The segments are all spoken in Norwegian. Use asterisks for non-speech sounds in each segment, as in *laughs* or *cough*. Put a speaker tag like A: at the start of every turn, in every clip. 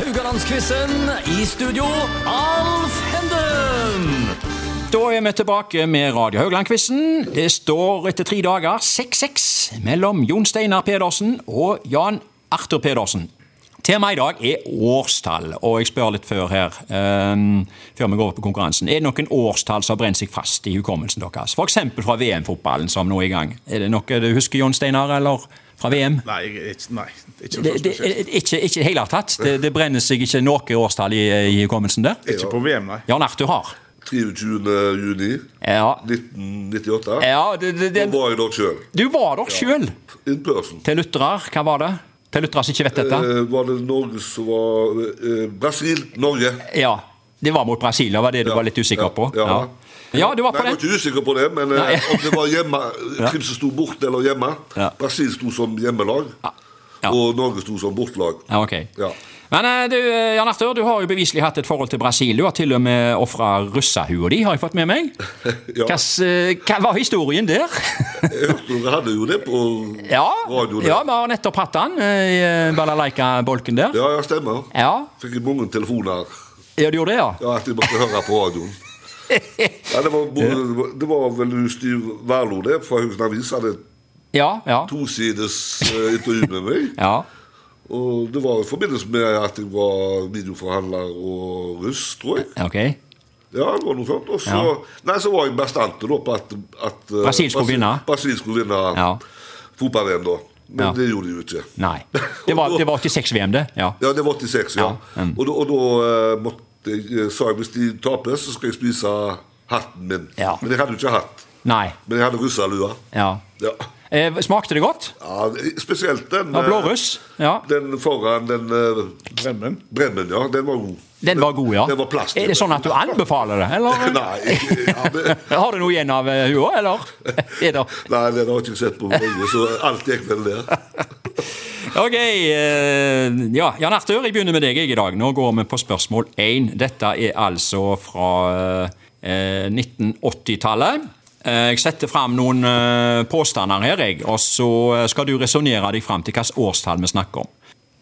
A: Rogalandsquizen. I studio, Alf Henden.
B: Da er vi tilbake med Radio Haugland-quizen. Det står etter tre dager 6-6 mellom Jon Steinar Pedersen og Jan Arthur Pedersen. Temaet i dag er årstall, og jeg spør litt før her, ehm, før vi går over på konkurransen. Er det noen årstall som har brent seg fast i hukommelsen deres? F.eks. fra VM-fotballen som nå er i gang. Er det noe du husker, Jon Steinar, eller fra VM?
C: Nei, jeg, ikke, nei, ikke noe
B: Det, det,
C: spesielt.
B: ikke i det hele tatt. Det, det brenner seg ikke noe årstall i, i hukommelsen der.
C: Ikke på VM, nei.
B: Jan Arthur har.
D: 23. juni
B: Ja,
D: 1998.
B: ja det, det, det,
D: Da var jeg der sjøl.
B: Du var der sjøl!
D: In person.
B: Til lutherer, hva var det? Til lutherer som ikke vet dette?
D: Eh, var det Norge som var eh, Brasil, Norge.
B: Ja. Det var mot Brasil, det var det du
D: Ja,
B: var litt usikker
D: ja,
B: på?
D: ja.
B: Ja, ja du var på
D: Nei, jeg var
B: den?
D: ikke usikker på det, men eh,
B: Nei.
D: *laughs* om det var hjemme, hvem som sto borte eller hjemme.
B: Ja.
D: Brasil sto som hjemmelag,
B: Ja.
D: og Norge sto som bortelag.
B: Ja, ok.
D: Ja.
B: Men eh, du, eh, Jan Arthur, du har jo beviselig hatt et forhold til Brasil. Du har til og med ofra russehua di, har jeg fått med meg.
D: *laughs* Ja.
B: Hva's, eh, hva var historien
D: *laughs*
B: der?
D: Jeg hørte dere hadde jo det på
B: ja,
D: radioen.
B: ja, vi har nettopp hatt han eh, i eh, balalaika-bolken der.
D: ja, ja, stemmer.
B: Ja.
D: Fikk jeg mange telefoner
B: ja, du gjorde det, ja?
D: ja, at jeg måtte høre på
B: *laughs*
D: radioen. Ja, det, var, både- det var vel Stiv Werlo, det, fra Haugesund Avis. Hadde
B: Ja, ja.
D: tosides eh, intervju med meg.
B: *laughs* ja.
D: Og det var i forbindelse med at jeg var videoforhandler og russ, tror jeg.
B: Ok.
D: Ja, det var noe sånt. Og så,
B: Ja.
D: nei, så var jeg bastante da på at, at eh,
B: Brasil skulle vinne.
D: Brasil skulle vinne
B: Ja.
D: fotball-VM, da. Men
B: Ja.
D: det gjorde de jo ikke.
B: Nei. Det var, det var 86-VM, det. Ja.
D: Ja, det var 86, ja.
B: Ja,
D: Og da, og da eh, måtte jeg, eh, sa jeg hvis de taper, så skal jeg spise hatten min.
B: Ja.
D: Men jeg hadde jo ikke hatt.
B: Nei.
D: Men jeg hadde russalua.
B: Ja.
D: Ja.
B: Eh, smakte det godt?
D: ja, spesielt den
B: Ja,
D: eh,
B: blåruss. Ja.
D: Den foran den eh,
C: Bremmen.
D: bremmen, ja. Den var god.
B: Den var god, ja.
D: Den var plast.
B: Er det sånn at du anbefaler det, eller?
D: *laughs* Nei, jeg- ja, det,
B: *laughs* Har du noe igjen av eh, hua,
D: *laughs*
B: eller? Er det?
D: nei, den har jeg ikke sett på lenge, så alt gikk vel der.
B: Ok, eh, ja, Jan Arthur, jeg begynner med deg jeg, i dag. Nå går vi på spørsmål 1. Dette er altså fra eh, 1980-tallet. Eh, Jeg setter fram noen eh, påstander her, jeg, og så eh, skal du resonnere deg fram til hvilket årstall vi snakker om.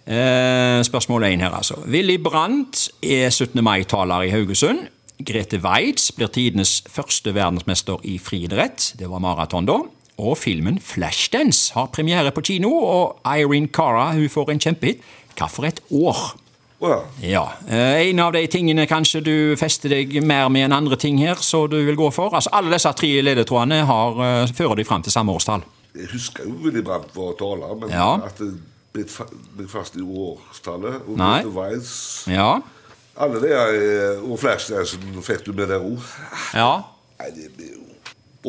B: Eh, Spørsmål 1 her, altså. Willy Brandt er 17. mai-taler i Haugesund. Grete Weitz blir tidenes første verdensmester i friidrett. Det var maraton, da. Og filmen 'Flashdance' har premiere på kino, og Irene Cara hun får en kjempehit. Hvilket år?
D: Å ja.
B: Ja, eh, En av de tingene kanskje du fester deg mer med enn andre ting her, så du vil gå for? Altså, Alle disse tre ledetrådene har, eh, fører de fram til samme årstall.
D: Jeg husker jo Willy Brandt var taler, men
B: Ja.
D: at det bet fa- ble fast i årstallet og
B: Nei.
D: Peter Weiss
B: Ja.
D: Alle de her, eh, og flashdance fikk du med der òg.
B: ja.
D: Nei, det blir jo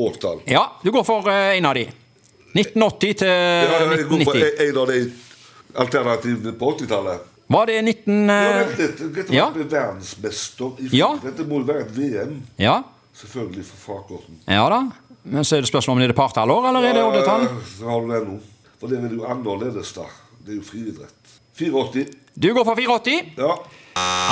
D: årstall.
B: Ja, du går for eh, en av de. 1980 til
D: Ja, jeg går for
B: 1990.
D: en- en av de alternativene på 80-tallet.
B: Var det 19...
D: Ja,
B: eh,
D: vent litt. Grete
B: ja.
D: Weitz ble verdensmester i
B: Ja.
D: Dette må jo være et VM.
B: Ja,
D: Selvfølgelig for Fakorten.
B: ja da. Men så er det spørsmål om det er partallår, eller er det oddetall?
D: Ja, Eh, så har du det nå. For det er jo annerledes, da. Det er jo friidrett. 84.
B: Du går for 84.
D: Ja.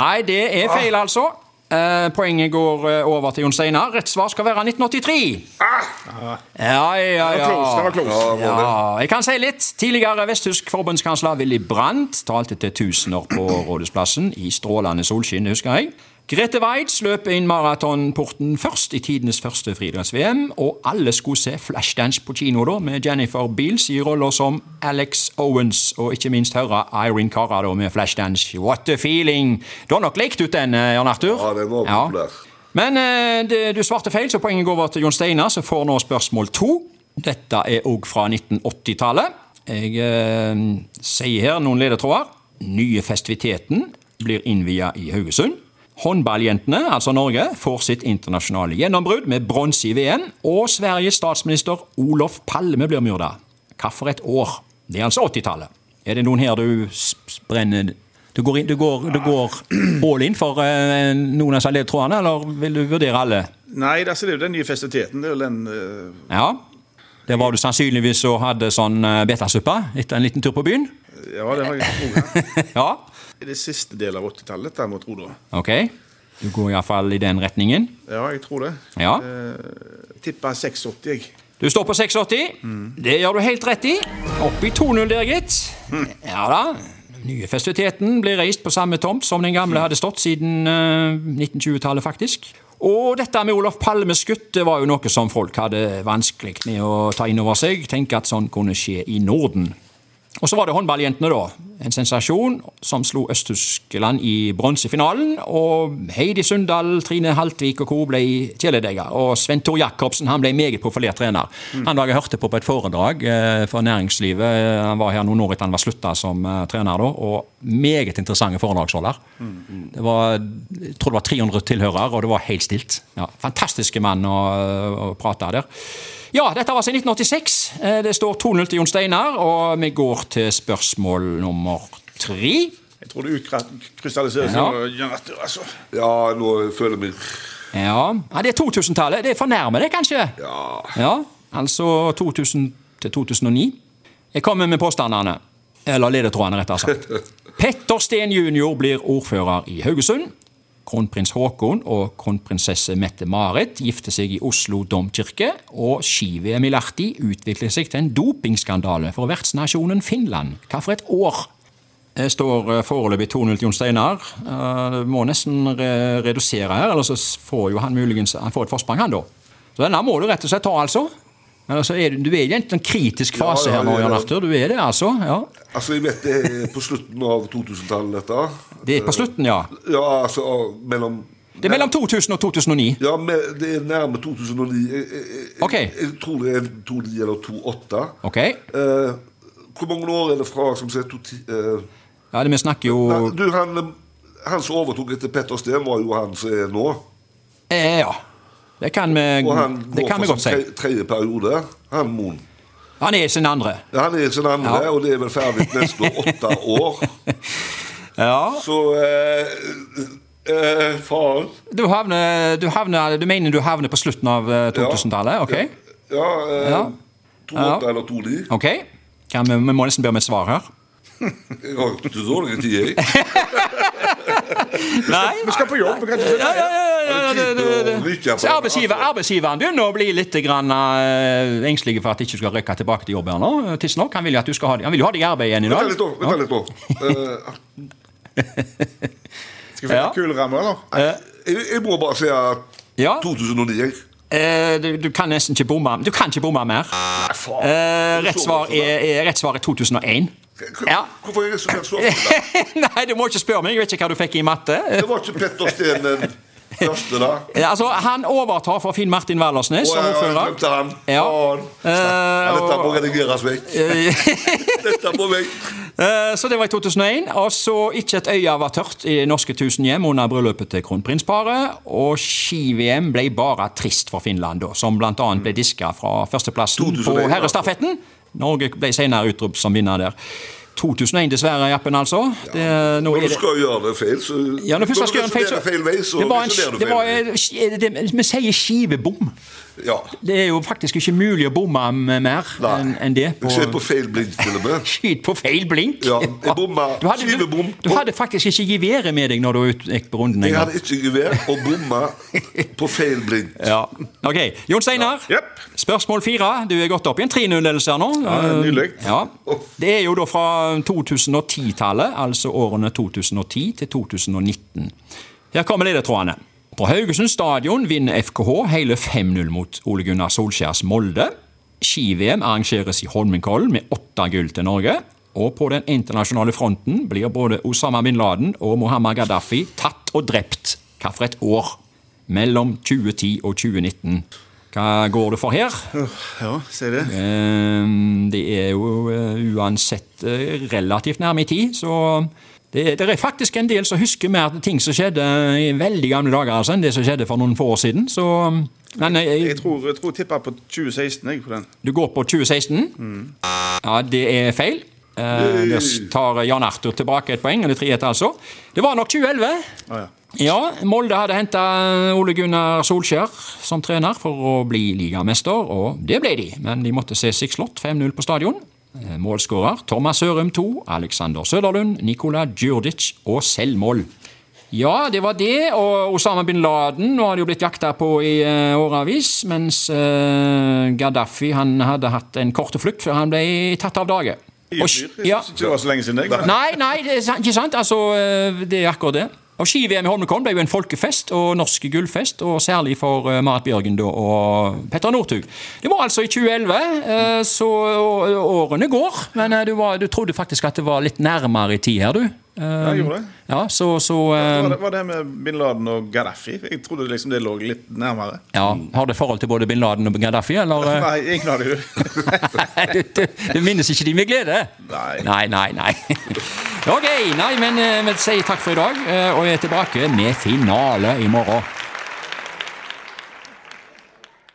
B: Nei, det er
D: Ah.
B: feil, altså. Eh, poenget går eh, over til Jon Steinar. Rett svar skal være 1983.
D: Ah!
B: Ja, ja,
C: Det var close. Det
B: ja.
C: var close.
B: Ja, jeg kan si litt. Tidligere vesttysk forbundskansler Willy Brandt talte til tusener på Rådhusplassen i strålende solskinn, husker jeg. Grete Weitz løp inn maratonporten først i tidenes første friidretts-VM, og alle skulle se Flashdance på kino da, med Jennifer Beals i roller som Alex Owens, og ikke minst høre Irene Cara da med Flashdance. What a feeling! Du har nok lekt ut den, eh, Jan Arthur?
D: Ja, den var
B: Ja.
D: populær.
B: Men eh, det, du svarte feil, så poenget går over til Jon Steinar, som får nå spørsmål to. Dette er òg fra 1980-tallet. Jeg eh, sier her noen ledetråder. Nye festiviteten blir innvia i Haugesund. Håndballjentene, altså Norge, får sitt internasjonale gjennombrudd med bronse i VM. Og Sveriges statsminister Olof Palme blir myrda. Hvilket år? Det er altså 80-tallet. Er det noen her du s- s- brenner du går, inn, du, går, du går all in for eh, noen av disse ledtrådene, eller vil du vurdere alle?
C: Nei, det er jo den nye festiviteten. Det er jo den eh,
B: Ja. Der var du sannsynligvis og hadde sånn eh, betasuppe etter en liten tur på byen.
C: Ja, det har jeg
B: *laughs*
C: trodd.
B: Ja.
C: Det er siste del av 80-tallet, der må jeg tro det.
B: Ok. Du går iallfall i den retningen.
C: Ja, jeg tror det.
B: Ja.
C: Tippa 86, jeg.
B: Du står på 6,80. Det gjør du helt rett i. Opp i 2,0 der, gitt. Ja da. Nye festiviteten ble reist på samme tomt som den gamle hadde stått siden eh, 1920-tallet, faktisk. Og dette med Olof Palmes gutt det var jo noe som folk hadde vanskelig med å ta inn over seg. Tenke at sånn kunne skje i Norden. Og så var det håndballjentene, da. En sensasjon som slo Øst-Tyskland i bronsefinalen. Og Heidi Sundal, Trine Haltvik og co. ble kjæledegger. Og Sven Tor Jacobsen han ble meget profilert trener. Han var jeg hørte på på et foredrag eh, for næringslivet. eh, Han var her noen år etter han var slutta som eh, trener, da. Og meget interessante foredragsholder. Det var, jeg tror det var 300 tilhørere, og det var helt stilt. Ja, fantastiske mann å, å prate der. Ja, dette var altså i 1986. Eh, Det står 2-0 til Jon Steinar, og vi går til spørsmål nummer tre.
C: Jeg tror det utkrystalliserer seg.
B: Ja.
C: nå, Jan Arthur, altså.
D: Ja, nå føler jeg meg
B: Ja, ja det er 2000-tallet. Det er for nærme, det, kanskje?
D: Ja.
B: Ja, altså 2000 til 2009. Jeg kommer med påstandene. Eller ledetrådene, rettere sagt. Petter Steen jr. blir ordfører i Haugesund. Kronprins Haakon og kronprinsesse Mette-Marit gifter seg i Oslo domkirke. Og ski-VM i Lahti utvikler seg til en dopingskandale for vertsnasjonen Finland. Hva for et år? Jeg står eh, foreløpig 2-0 til Jon Steinar. Eh, det Må nesten re- redusere her, eller så s- får jo han muligens han får et forsprang, han da. Så denne må du rett og slett ta, altså. Eller så er du, du er i en sånn kritisk
D: Ja,
B: fase
D: ja,
B: her nå,
D: det er
B: Jan
D: det.
B: Arthur. Du er det, altså. Ja.
D: Altså, jeg vet det er på slutten av 2000-tallet, dette.
B: Det er på slutten, ja.
D: Ja, altså mellom
B: Det er mellom 2000 og 2009.
D: Ja, men det er nærme 2009. Jeg, jeg, jeg,
B: Ok.
D: jeg tror det er 2009 eller 2008.
B: Ok?
D: Eh, hvor mange år er det fra som sier 2010 eh,
B: Ja, det, vi snakker jo
D: nei, Du, han, han som overtok etter Petter Steen, var jo han som er nå.
B: eh, Ja. Det kan vi,
D: Og han
B: Mm, det
D: går
B: kan vi
D: for
B: godt
D: sin
B: si.
D: tre, tredje periode. Han Moen.
B: Han er sin andre.
D: Ja, Han er sin andre,
B: Ja.
D: og det er vel ferdig neste år, åtte år.
B: Ja.
D: Så eh, eh, Faren
B: Du havner, du havner Du mener du havner på slutten av eh, 2000-tallet? Ok?
D: Ja. Eh,
B: Ja.
D: 28
B: Ja.
D: eller 29.
B: Ok, kan vi, vi må nesten be om et svar her.
D: Jeg har ikke så dårlig tid,
B: *laughs*
D: jeg.
B: Nei?
C: Vi skal på jobb. vi kan ikke-
B: Ja, ja, ja, ja, ja, det- det- det-
D: Og ryker på
B: Så
D: den,
B: arbeidsgiver,
D: altså.
B: arbeidsgiveren begynner å bli litt grann, eh, engstelig for at de ikke skal røkke tilbake til jobb her nå. eh, Tidsnok. Han vil jo at du skal ha, han vil jo ha deg i arbeid igjen i
D: Vent litt,
B: dag.
D: da. Vent litt, da. Eh,
C: Skal vi få
B: Ja.
C: ja. kulerammer, eller?
D: jeg, jeg må bare si at
B: Ja,
D: 2009 jeg.
B: eh, du, du kan nesten ikke bomme Du kan ikke bomme mer.
D: Nei, faen.
B: Eh,
D: Jeg
B: Rett
D: så altså.
B: svar
D: det
B: er, er, rett svar er 2001.
D: sånn der.
B: ja.
D: Hvorfor er jeg så så ofte? der?
B: *laughs* Nei, du må ikke spørre meg. Jeg vet ikke hva du fikk i matte. Eh,
D: Det var ikke Petter Steen den første, da.
B: Eh, Altså, Han overtar for Finn Martin Wallersnes *laughs*
D: Å,
B: som
D: ja, ja, jeg
B: ordfører.
D: glemte han.
B: Ja. Eh,
D: Faen. Ja, dette må redigeres
B: *laughs*
D: vekk. Dette må vekk.
B: Eh, Så det var i 2001. Og så ikke et øye var tørt i norske tusen hjem under bryllupet til kronprinsparet. Og ski-VM ble bare trist for Finland, da, som bl.a. ble diska fra førsteplassen
D: 2001,
B: på
D: altså.
B: herrestafetten. Norge ble senere utropt som vinner der. 2001, dessverre, Jappen, altså. Det, nå
D: Når
B: er
D: du
B: det
D: skal gjøre det feil, så
B: ja, når først jeg
D: Når du
B: skal gjøre en feil, så,
D: resonerer feil vei, så
B: det var en,
D: resonerer du
B: det
D: feil
B: var,
D: vei.
B: eh, det, Vi sier skivebom.
D: Ja.
B: Det er jo faktisk ikke mulig å bomme med mer
D: Nei.
B: enn enn det.
D: Jeg ser på feil blink, til og med.
B: Skyt på feil blink.
D: Ja, jeg bomma.
B: Du hadde, du,
D: Skivebom.
B: du hadde faktisk ikke geværet med deg når du ut- gikk på runden.
D: Jeg
B: engang.
D: hadde ikke gevær og bomma på feil blink.
B: Ja. Ok, Jon Steinar.
C: Ja. Jepp.
B: Spørsmål fire. Du er godt opp i en 3-0-ledelse her nå.
C: det er nydelig.
B: Eh, Ja. Det er jo da fra 2010-tallet, altså årene 2010 til 2019. Her kommer ledetrådene. På Haugesund stadion vinner FKH hele 5-0 mot Ole Gunnar Solskjærs Molde. Ski-VM arrangeres i Holmenkollen med åtte gull til Norge. Og på den internasjonale fronten blir både Osama bin Laden og Mohammed Gaddafi tatt og drept. Hva for et år? Mellom 2010 og 2019. Hva går det for her?
C: Ja, si det.
B: Ehm, Det er jo eh, uansett eh, relativt nærme i tid, så det, det er faktisk en del som husker mer ting som skjedde i veldig gamle dager altså, enn det som skjedde for noen få år siden. Så, men eh,
C: Jeg tror jeg tror jeg tippa på 2016. jeg, på den.
B: du går på 2016.
C: Mm.
B: Ja, det er feil. Eh, Der tar Jan Arthur tilbake et poeng, eller tre etter altså. Det var nok 2011.
C: Ah, ja.
B: Ja, Molde hadde henta Ole Gunnar Solskjær som trener for å bli ligamester, og det ble de. Men de måtte se seg slått 5-0 på stadion. Eh, Målskårer Thomas Sørum 2, Alexander Søderlund, Nikola Djurdic og selvmål. Ja, det var det. Og Osama bin Laden nå har de jo blitt jakta på i eh, årevis. Mens eh, Gaddafi han hadde hatt en kort flukt før han ble tatt av dage.
C: Jeg
B: Og
C: syns
B: sk- ja.
C: ikke det var så lenge siden jeg men-
B: Nei, nei, det er sant, ikke sant? Altså, eh, det er akkurat det. Og Ski-VM i Holmenkollen ble jo en folkefest og norsk gullfest, og særlig for eh, Marit Bjørgen da, og Petter Northug. Det var altså i 2011, eh, så og- og årene går, men eh, du, var, du trodde faktisk at det var litt nærmere i tid her, du. Eh,
C: jeg gjorde det.
B: Ja, så, så eh,
C: Var det, var det med bin Laden og Gaddafi? Jeg trodde liksom det lå litt nærmere.
B: ja, Har det forhold til både bin Laden og Gaddafi, eller? eh? *laughs*
C: Nei, ingen av dem.
B: Nei, du, du, du minnes ikke de med glede?
C: Nei.
B: Nei, nei, nei. *laughs* Ok, nei, men eh, vi sier takk for i dag, eh, og er tilbake med finale i morgen.